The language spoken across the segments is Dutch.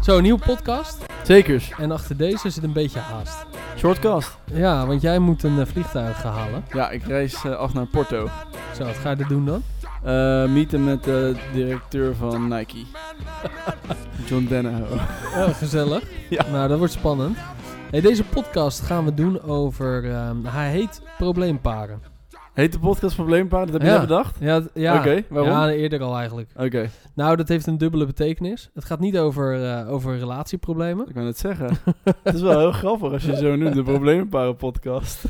Zo, een nieuwe podcast. Zekers. En achter deze zit een beetje haast. Shortcast. Ja, want jij moet een eh, vliegtuig gaan halen. Ja, ik reis eh, af naar Porto. Zo, wat ga je er doen dan? Eh, meeten met de directeur van Nike. John Denneho. Oh, gezellig. Ja. Nou, dat wordt spannend. Hey, deze podcast gaan we doen over... ehm, hij heet Probleemparen. Heet de podcast Probleempaar? Dat heb Ja. jij bedacht? Ja, d- ja. Oké, waarom? Ja, eerder al eigenlijk. Oké, Nou, dat heeft een dubbele betekenis. Het gaat niet over, eh, over relatieproblemen. ik wou net zeggen. het is wel heel grappig als je zo noemt, de Probleemparen podcast.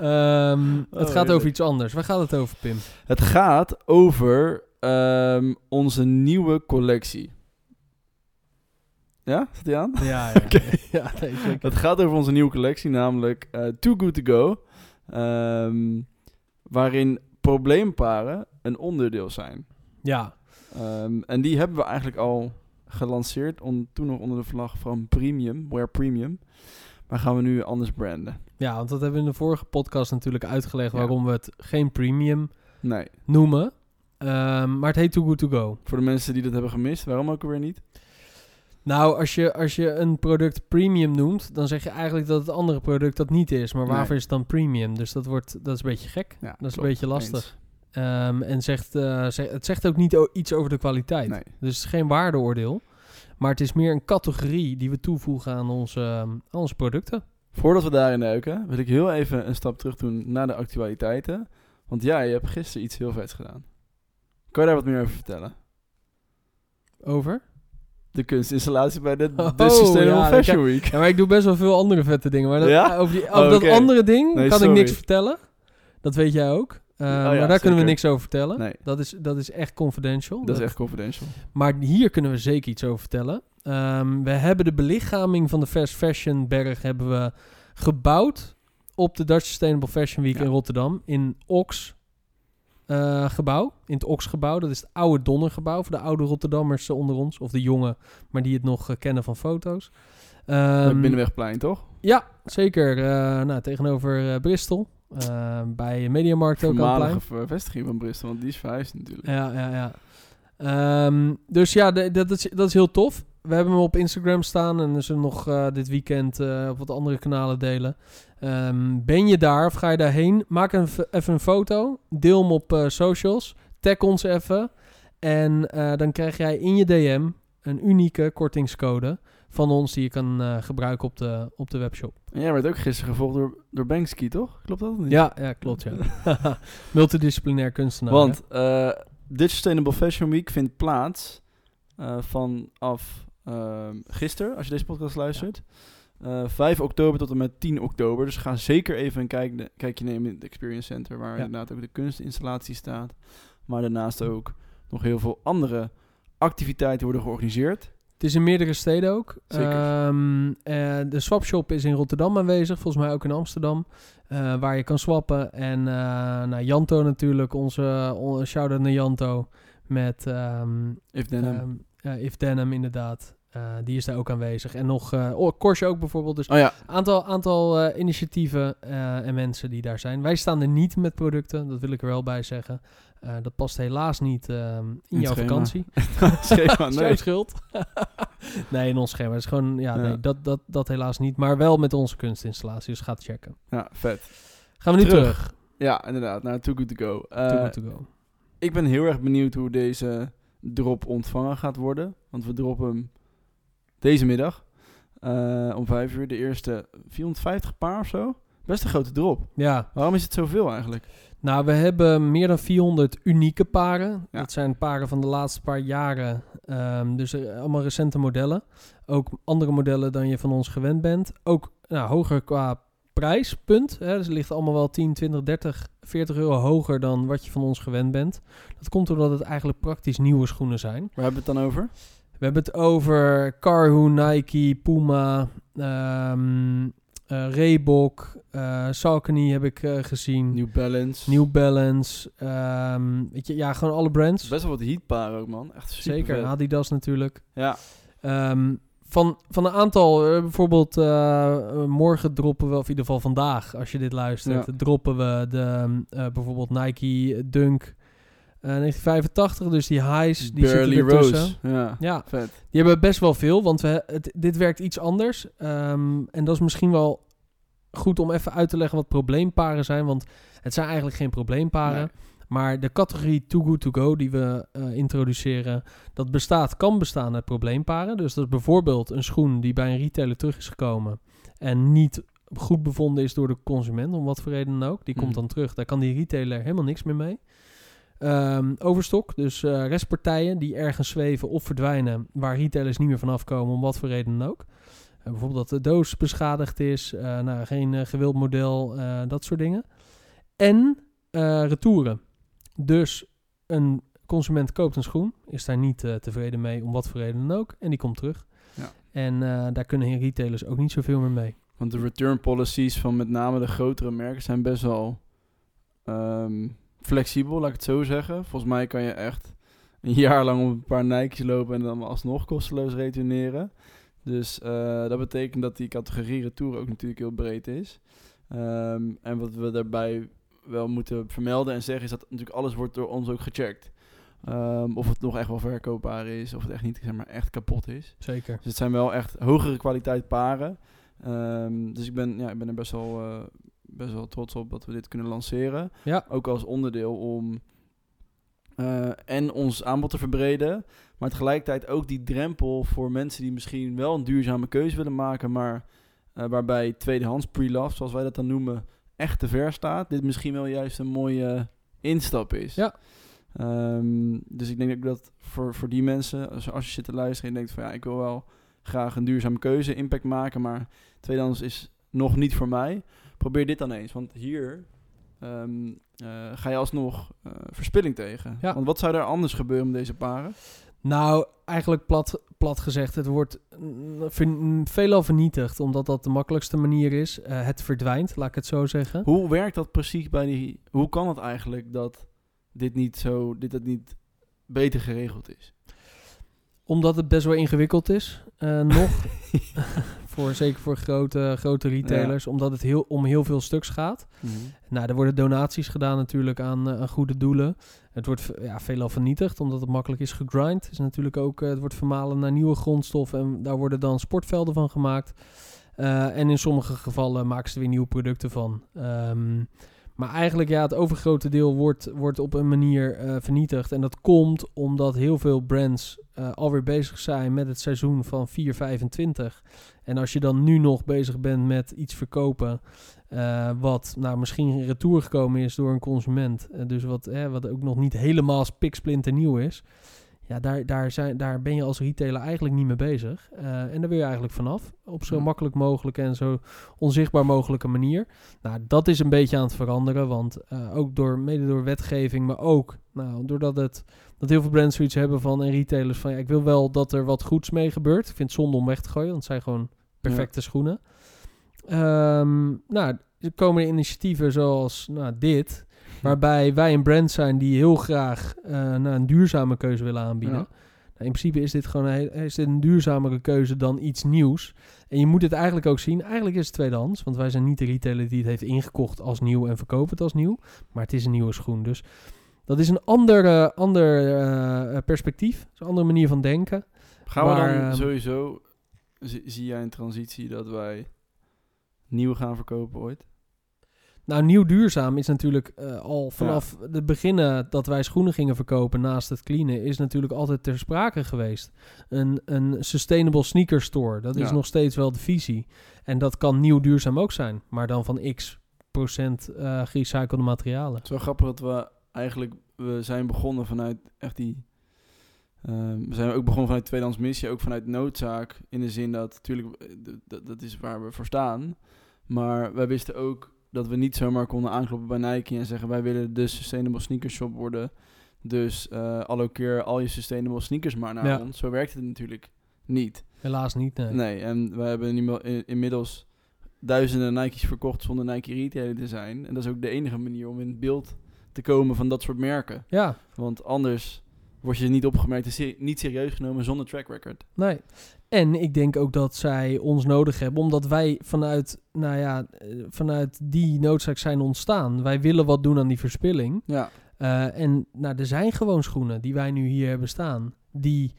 Ehm, het gaat Oh, heerlijk. over iets anders. Waar gaat het over, Pim? Het gaat over ehm, onze nieuwe collectie. Ja, staat die aan? Ja, ja. ja nee, zeker. Het gaat over onze nieuwe collectie, namelijk eh, Too Good To Go. ehm, waarin probleemparen een onderdeel zijn. Ja, Ehm, en die hebben we eigenlijk al gelanceerd, on, toen nog onder de vlag van Premium, Wear Premium. Maar gaan we nu anders branden? Ja, want dat hebben we in de vorige podcast natuurlijk uitgelegd Ja. waarom we het geen premium Nee, noemen. Ehm, maar het heet Too Good To Go. voor de mensen die dat hebben gemist, waarom ook weer niet? Nou, als je, als je een product premium noemt, dan zeg je eigenlijk dat het andere product dat niet is. Maar Nee. waarvoor is het dan premium? Dus dat, wordt, dat is een beetje gek. Ja, Dat is klopt, een beetje lastig. eens. Ehm, en zegt, eh, ze- het zegt ook niet o- iets over de kwaliteit. Nee. Dus het is geen waardeoordeel. Maar het is meer een categorie die we toevoegen aan onze, ehm, aan onze producten. Voordat we daarin duiken, wil ik heel even een stap terug doen naar de actualiteiten. Want jij hebt gisteren iets heel vets gedaan. Kan je daar wat meer over vertellen? Over. de kunstinstallatie bij de, Oh, de Sustainable ja, Fashion Week. Ja, maar ik doe best wel veel andere vette dingen. Maar dat, Ja? over, die, Oh, over oké. dat andere ding Nee, kan ik sorry. Oh niks vertellen. Dat weet jij ook. Eh, ja, maar daar kunnen we zeker. niks over vertellen. Nee, Dat, is, dat is echt confidential. dat is Dat- Ehm, echt confidential. Maar hier kunnen we zeker iets over vertellen. Ehm, we hebben de belichaming van de Fast Fashion Berg hebben we gebouwd op de Dutch Sustainable Fashion Week Ja. in Rotterdam. In Ox eh, gebouw. In het Ox gebouw. Dat is het oude Donnergebouw voor de oude Rotterdammers eh, onder ons. Of de jongen, maar die het nog eh, kennen van foto's. Bij het Ehm, Binnenwegplein, toch? ja, zeker. Eh, nou, tegenover eh, Bristol. Eh, bij Mediamarkt ook aan het plein. Voormalige vestiging van Bristol, want die is verhuisd natuurlijk. Ja, ja, ja. Ehm, dus ja, de- dat is, dat is heel tof. We hebben hem op Instagram staan en ze nog eh, dit weekend eh, op wat andere kanalen delen. Ehm, ben je daar of ga je daarheen? Maak een, f- even een foto. Deel hem op eh, socials. Tag ons even. En eh, dan krijg jij in je DM een unieke kortingscode van ons die je kan eh, gebruiken op de, op de webshop. En jij werd ook gisteren gevolgd door, door Banksy, toch? Klopt dat of niet? Ja, ja klopt. Ja. Multidisciplinair kunstenaar. hè? Want eh dit Sustainable Fashion Week vindt plaats eh, vanaf ehm gisteren, als je deze podcast luistert. Eh, 5 oktober tot en met 10 oktober. Dus ga zeker even een kijk, kijkje nemen in het Experience Center, waar Ja. inderdaad ook de kunstinstallatie staat. Maar daarnaast ook nog heel veel andere activiteiten worden georganiseerd. Het is in meerdere steden ook. Zeker. Ehm, eh, de swapshop is in Rotterdam aanwezig, volgens mij ook in Amsterdam, eh, waar je kan swappen. En eh, nou, Janto natuurlijk, onze on- shout-out naar Janto met ehm, If then, ehm, ja, If Denim inderdaad. Eh, die is daar ook aanwezig. En nog eh oh, Korsje ook bijvoorbeeld. Dus oh ja, aantal, aantal eh, initiatieven eh, en mensen die daar zijn. Wij staan er niet met producten, dat wil ik er wel bij zeggen. Eh, dat past helaas niet ehm, in het jouw schema. vakantie. schema, Is nee. jouw schuld. Ah, nee, in ons schema. Het is gewoon, ja, Ja. Nee, dat, dat, dat helaas niet. Maar wel met onze kunstinstallatie. Dus ga het checken. Ja, vet. Gaan we nu terug. Terug. Ja, inderdaad. Nou, too good to go. Eh, Too good to go. Ik ben heel erg benieuwd hoe deze drop ontvangen gaat worden. Want we droppen hem deze middag eh, om 5 uur. De eerste 450 paar of zo. Best een grote drop. Ja, Waarom is het zoveel eigenlijk? nou, we hebben meer dan 400 unieke paren. Ja. Dat zijn paren van de laatste paar jaren. Ehm, dus eh, allemaal recente modellen. Ook andere modellen dan je van ons gewend bent. Ook nou, hoger qua prijspunt. Hè, dus het ligt allemaal wel 10, 20, 30, 40 euro hoger dan wat je van ons gewend bent. Dat komt omdat het eigenlijk praktisch nieuwe schoenen zijn. Waar hebben we het dan over? We hebben het over Carhu, Nike, Puma, ehm eh, Reebok, eh Saucony heb ik eh, gezien. New, Hmm. New Balance. Balance. ehm, weet je, ja, gewoon alle brands. Best wel wat heatparen ook, man. Echt super Zeker, vet. Adidas natuurlijk. Ja, Ehm, van, van een aantal, eh, bijvoorbeeld eh, eh, morgen droppen we, of in ieder geval vandaag, als je dit luistert, Ja. droppen we de, ehm, eh, bijvoorbeeld Nike eh, Dunk Eh, 1985, dus die highs, die Barely zitten er tussen. Rose. Ja, Ja, vet. die hebben best wel veel, want we, het, dit werkt iets anders. Ehm, en dat is misschien wel goed om even uit te leggen wat probleemparen zijn, want het zijn eigenlijk geen probleemparen. Nee. Maar de categorie Too Good To Go die we eh, introduceren, dat bestaat, kan bestaan uit probleemparen. Dus dat is bijvoorbeeld een schoen die bij een retailer terug is gekomen en niet goed bevonden is door de consument, om wat voor reden dan ook. Die komt Mhm. dan terug, daar kan die retailer helemaal niks meer mee. Ehm, overstok, dus eh, restpartijen die ergens zweven of verdwijnen, waar retailers niet meer vanaf komen, om wat voor reden dan ook. Eh, bijvoorbeeld dat de doos beschadigd is, eh, nou, geen eh, gewild model, eh, dat soort dingen. En eh retouren. Dus een consument koopt een schoen, is daar niet eh, tevreden mee, om wat voor reden dan ook, en die komt terug. Ja. En eh, daar kunnen retailers ook niet zoveel meer mee. Want de return policies van met name de grotere merken zijn best wel ehm, flexibel, laat ik het zo zeggen. Volgens mij kan je echt een jaar lang op een paar Nike's lopen en dan alsnog kosteloos retourneren. Dus eh, dat betekent dat die categorie retour ook natuurlijk heel breed is. Ehm, en wat we daarbij wel moeten vermelden en zeggen is dat natuurlijk alles wordt door ons ook gecheckt. Ehm, of het nog echt wel verkoopbaar is, of het echt niet zeg maar, echt kapot is. Zeker. Dus het zijn wel echt hogere kwaliteit paren. Ehm, dus ik ben, ja, ik ben er best wel, eh, best wel trots op dat we dit kunnen lanceren. Ja. Ook als onderdeel om eh, en ons aanbod te verbreden. Maar tegelijkertijd ook die drempel voor mensen die misschien wel een duurzame keuze willen maken. Maar eh, waarbij tweedehands pre-love, zoals wij dat dan noemen, echt te ver staat. Dit misschien wel juist een mooie instap is. Ja. Ehm, dus ik denk ook dat voor, voor die mensen, als, als je zit te luisteren en je denkt van ja, ik wil wel graag een duurzame keuze, impact maken, maar tweedehands is nog niet voor mij. Probeer dit dan eens, want hier ehm, eh, ga je alsnog eh, verspilling tegen. Ja. Want wat zou er anders gebeuren met deze paren? Nou, eigenlijk plat, plat gezegd, het wordt mm, ver- veelal vernietigd, omdat dat de makkelijkste manier is. Eh, het verdwijnt, laat ik het zo zeggen. Hoe werkt dat precies bij die... Hoe kan het eigenlijk dat dit niet zo... Dit dat niet beter geregeld is? Omdat het best wel ingewikkeld is. eh, nog. voor, zeker voor grote, grote retailers. Omdat het heel, om heel veel stuks gaat. Nou, er worden donaties gedaan natuurlijk aan, eh, aan goede doelen. Het wordt ve- ja, veelal vernietigd, omdat het makkelijk is gegrind. Is natuurlijk ook, eh, het wordt vermalen naar nieuwe grondstoffen. En daar worden dan sportvelden van gemaakt. Eh, en in sommige gevallen maken ze er weer nieuwe producten van. Ehm, maar eigenlijk, ja, het overgrote deel wordt, wordt op een manier eh, vernietigd. En dat komt omdat heel veel brands eh, alweer bezig zijn met het seizoen van 4,25. En als je dan nu nog bezig bent met iets verkopen. eh, wat nou misschien in retour gekomen is door een consument. eh, dus wat, eh, wat ook nog niet helemaal spiksplinter nieuw is. Ja, daar, daar, zijn, daar ben je als retailer eigenlijk niet mee bezig. Eh, en daar wil je eigenlijk vanaf. Op zo Ja. makkelijk mogelijke en zo onzichtbaar mogelijke manier. Nou, dat is een beetje aan het veranderen, want eh, ook door, mede door wetgeving, maar ook nou, doordat het, dat heel veel brands zoiets hebben van en retailers van ja, ik wil wel dat er wat goeds mee gebeurt. Ik vind het zonde om weg te gooien, want het zijn gewoon perfecte schoenen. Ehm, nou, er komen initiatieven zoals nou, dit, waarbij wij een brand zijn die heel graag eh, nou, een duurzame keuze willen aanbieden. Ja. Nou, in principe is dit gewoon een, heel- is dit een duurzamere keuze dan iets nieuws. En je moet het eigenlijk ook zien. Eigenlijk is het tweedehands. Want wij zijn niet de retailer die het heeft ingekocht als nieuw en verkoopt het als nieuw. Maar het is een nieuwe schoen. Dus dat is een ander, eh, ander eh, perspectief. Dat is een andere manier van denken. Gaan Maar, we dan ehm, sowieso... Zie, zie jij een transitie dat wij nieuw gaan verkopen ooit? Nou, nieuw duurzaam is natuurlijk eh, al vanaf de beginnen dat wij schoenen gingen verkopen naast het cleanen, is natuurlijk altijd ter sprake geweest. Een, een sustainable sneaker store, dat is Ja. nog steeds wel de visie. En dat kan nieuw duurzaam ook zijn, maar dan van x procent eh, gerecyclede materialen. Het is wel grappig dat we eigenlijk... We zijn begonnen vanuit echt die... ehm, we zijn ook begonnen vanuit tweedehands missie. Ook vanuit noodzaak. In de zin dat... Natuurlijk, eh, d- dat, dat is waar we voor staan. Maar wij wisten ook dat we niet zomaar konden aankloppen bij Nike... en zeggen wij willen de Sustainable Sneaker Shop worden. Dus eh allokeer al je Sustainable Sneakers maar naar Ja. ons. Zo werkt het natuurlijk niet. Helaas niet, nee. Nee, en we hebben inmiddel- in- inmiddels duizenden Nike's verkocht zonder Nike retailer te zijn. En dat is ook de enige manier om in het beeld te komen van dat soort merken. Ja, Want anders word je niet opgemerkt en seri- niet serieus genomen zonder track record. nee. En ik denk ook dat zij ons nodig hebben, omdat wij vanuit, nou ja, eh, vanuit die noodzaak zijn ontstaan. Wij willen wat doen aan die verspilling. Ja, Eh, en nou, er zijn gewoon schoenen die wij nu hier hebben staan, die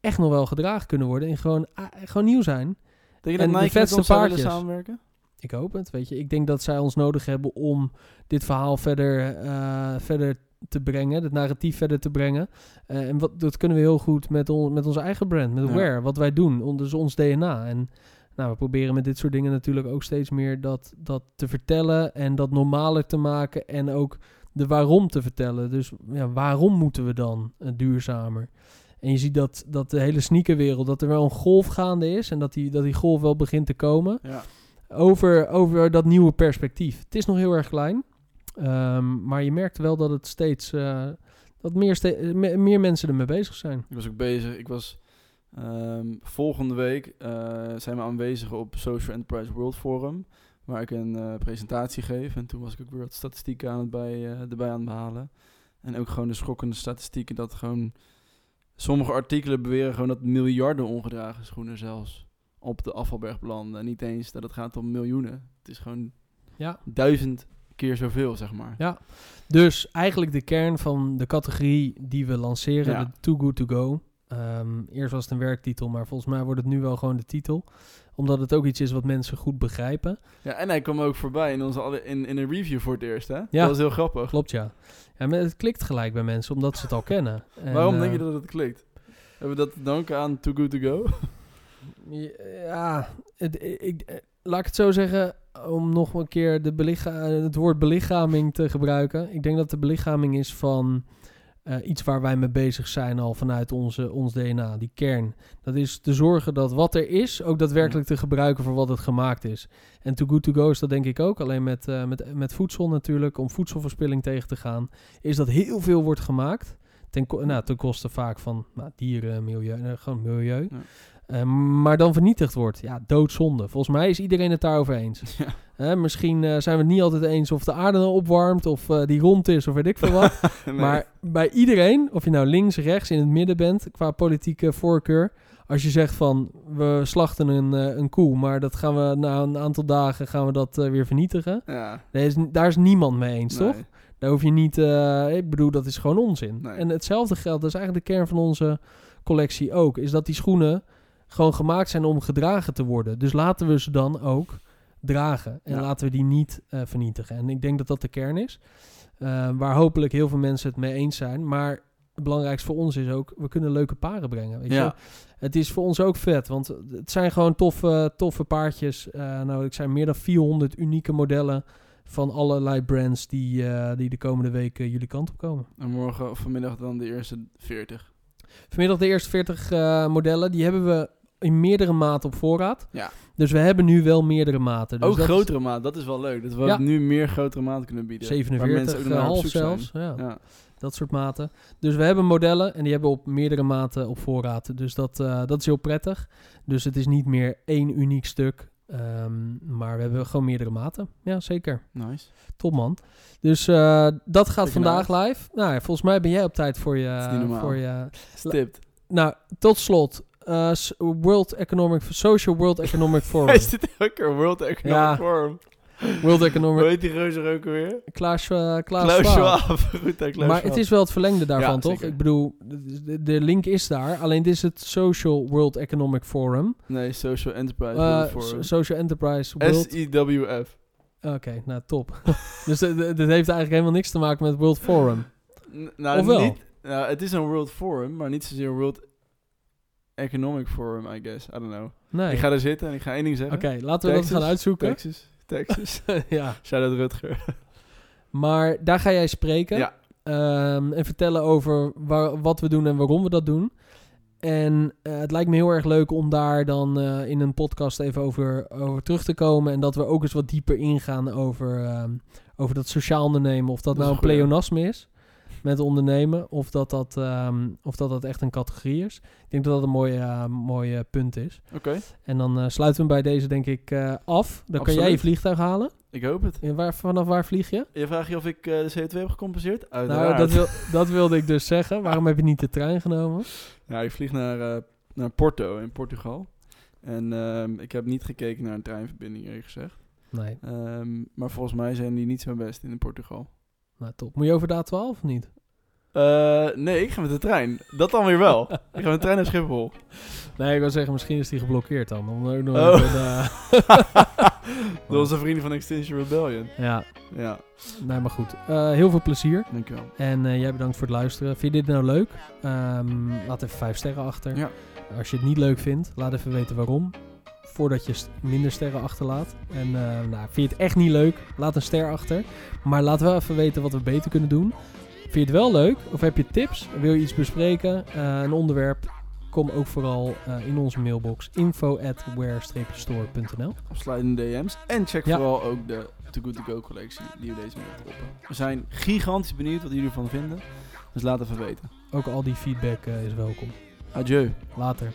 echt nog wel gedragen kunnen worden en gewoon, ah, gewoon nieuw zijn. Denk En je de dat Nike met vetste ons zou willen paardjes. samenwerken? Ik hoop het, weet je. Ik denk dat zij ons nodig hebben om dit verhaal verder, eh, verder te brengen, het narratief verder te brengen. Eh, en wat, dat kunnen we heel goed met, on, met onze eigen brand, met Ja. Wear, wat wij doen, on, dus ons DNA. En nou, we proberen met dit soort dingen natuurlijk ook steeds meer dat, dat te vertellen en dat normaler te maken en ook de waarom te vertellen. Dus ja, waarom moeten we dan eh, duurzamer? En je ziet dat, dat de hele sneakerwereld, dat er wel een golf gaande is en dat die, dat die golf wel begint te komen Ja. over, over dat nieuwe perspectief. Het is nog heel erg klein, ehm, maar je merkt wel dat het steeds. eh, dat meer, ste- eh, me- meer mensen ermee bezig zijn. Ik was ook bezig. Ik was ehm, volgende week eh, zijn we aanwezig op Social Enterprise World Forum. Waar ik een eh, presentatie geef. En toen was ik ook weer wat statistieken aan het bij, eh, erbij aan het behalen. En ook gewoon de schokkende statistieken dat gewoon. Sommige artikelen beweren gewoon dat miljarden ongedragen schoenen zelfs op de afvalberg belanden. En niet eens dat het gaat om miljoenen. Het is gewoon Ja. duizend keer zoveel, zeg maar. Ja. Dus eigenlijk de kern van de categorie die we lanceren, Ja. de Too Good To Go. Ehm, eerst was het een werktitel, maar volgens mij wordt het nu wel gewoon de titel. Omdat het ook iets is wat mensen goed begrijpen. Ja, en hij kwam ook voorbij in, onze alle, in, in een review voor het eerst, hè? Ja. Dat was heel grappig. Klopt ja. ja maar het klikt gelijk bij mensen, omdat ze het al kennen. En, Waarom eh, denk je dat het klikt? Hebben we dat te danken aan Too Good To Go? Ja, het, ik, eh, laat ik het zo zeggen, om nog een keer de belicha- eh, het woord belichaming te gebruiken. Ik denk dat de belichaming is van eh, iets waar wij mee bezig zijn al vanuit onze, ons DNA, die kern. Dat is te zorgen dat wat er is ook daadwerkelijk te gebruiken voor wat het gemaakt is. En Too Good To Go is dat denk ik ook, alleen met, eh, met, met voedsel natuurlijk, om voedselverspilling tegen te gaan, is dat heel veel wordt gemaakt. Ten, ko- nou, ten koste vaak van nou, dieren, milieu, eh, gewoon milieu. Ja. Eh, maar dan vernietigd wordt. Ja, doodzonde. Volgens mij is iedereen het daarover eens. Ja. Eh, misschien eh, zijn we het niet altijd eens of de aarde nou opwarmt of eh, die rond is of weet ik veel wat. Maar bij iedereen, of je nou links, rechts, in het midden bent, qua politieke voorkeur. Als je zegt van we slachten een, eh, een koe, maar dat gaan we na een aantal dagen gaan we dat eh, weer vernietigen. Ja. Daar is, daar is niemand mee eens, nee. toch? Daar hoef je niet. eh, ik bedoel, dat is gewoon onzin. Nee. En hetzelfde geldt, dat is eigenlijk de kern van onze collectie ook. Is dat die schoenen gewoon gemaakt zijn om gedragen te worden. Dus laten we ze dan ook dragen. En Ja. laten we die niet eh, vernietigen. En ik denk dat dat de kern is. eh, waar hopelijk heel veel mensen het mee eens zijn. Maar het belangrijkste voor ons is ook, we kunnen leuke paren brengen. Weet je? Ja. Het is voor ons ook vet, want het zijn gewoon toffe, toffe paardjes. Eh, nou, ik zijn meer dan 400 unieke modellen van allerlei brands die, eh, die de komende weken jullie kant op komen. En morgen of vanmiddag dan de eerste 40. Vanmiddag de eerste 40 eh, modellen, die hebben we in meerdere maten op voorraad. Ja. Dus we hebben nu wel meerdere maten. Dus ook dat is grotere maat, dat is wel leuk. Dat we Ja. nu meer grotere maat kunnen bieden. Waar mensen 47, ook naar op eh, half zoek zijn. zelfs. Ja, Ja. Dat soort maten. Dus we hebben modellen en die hebben we op meerdere maten op voorraad. Dus dat, eh, dat is heel prettig. Dus het is niet meer één uniek stuk. ehm, maar we hebben gewoon meerdere maten. Ja, zeker. Nice. Top man. Dus eh, dat gaat Lekker vandaag live. Nou, ja, volgens mij ben jij op tijd voor je. is niet normaal. voor je. Stipt. Nou, tot slot. eh, s- World Economic Social World Economic Forum. Hij zit ook een World Economic Oh. Ja. Forum. World Hoe Economic heet die gozer ook alweer? Klaas, eh Klaas Klaus Schwab. Schwab. Goed, hè, Klaus Maar Schwab. het is wel het verlengde daarvan, Ja, toch? zeker. Ik bedoel, de- de, de link is daar. Alleen dit is het Social World Economic Forum. Nee, Social Enterprise Eh, World Forum. E so- Social Enterprise World... SIWF. Oké, nou top. dus dit dit heeft eigenlijk helemaal niks te maken met World Forum. N- nou, Of wel? Niet, nou, het is een World Forum, maar niet zozeer World Economic Forum, I guess. I don't know. Nee. Ik ga er zitten en ik ga één ding Oké, zeggen. laten we Texas, dat gaan uitzoeken. Texas. Texas. ja. Shout-out Rutger. Maar daar ga jij spreken. Ja. Ehm, en vertellen over waar, wat we doen en waarom we dat doen. En eh, het lijkt me heel erg leuk om daar dan eh, in een podcast even over, over terug te komen. En dat we ook eens wat dieper ingaan over, ehm, over dat sociaal ondernemen. Of dat, Dat is nou een een goeie. pleonasme is met ondernemen. Of dat dat, ehm, of dat dat echt een categorie is. Ik denk dat dat een mooi, eh, mooi eh, punt is. Oké, En dan eh, sluiten we hem bij deze denk ik eh, af. Dan kan jij je Absoluut. vliegtuig halen. ik hoop het. En waar, vanaf waar vlieg je? Je vraagt je of ik eh, de CO2 heb gecompenseerd? Nou, Uiteraard. dat, wil, dat wilde ik dus zeggen. Waarom heb je niet de trein genomen? Ja, ik vlieg naar, eh, naar Porto in Portugal. En ehm, ik heb niet gekeken naar een treinverbinding, eerlijk gezegd. Nee. Ehm, maar volgens mij zijn die niet zo best in Portugal. Nou, top. Moet je over de A12 of niet? Eh, nee, ik ga met de trein. Dat dan weer wel. ik ga met de trein naar Schiphol. Nee, ik wil zeggen, misschien is die geblokkeerd dan. Om ook nog Oh. even, eh, Dat was een vriend van Extinction Rebellion. ja, Ja, nee, maar goed. Eh, heel veel plezier. dankjewel. En eh, jij bedankt voor het luisteren. Vind je dit nou leuk? Ehm, laat even vijf sterren achter. Ja. Als je het niet leuk vindt, laat even weten waarom. Voordat je st- minder sterren achterlaat. En eh, nou, vind je het echt niet leuk, laat een ster achter. Maar laat wel even weten wat we beter kunnen doen. Vind je het wel leuk? Of heb je tips? Wil je iets bespreken? Eh, een onderwerp? Kom ook vooral eh, in onze mailbox info@where-store.nl. Afsluitende DM's. En check Ja. vooral ook de Too Good To Go collectie die we deze maand droppen. We zijn gigantisch benieuwd wat jullie ervan vinden. Dus laat even weten. Ook al die feedback eh, is welkom. Adieu. Later.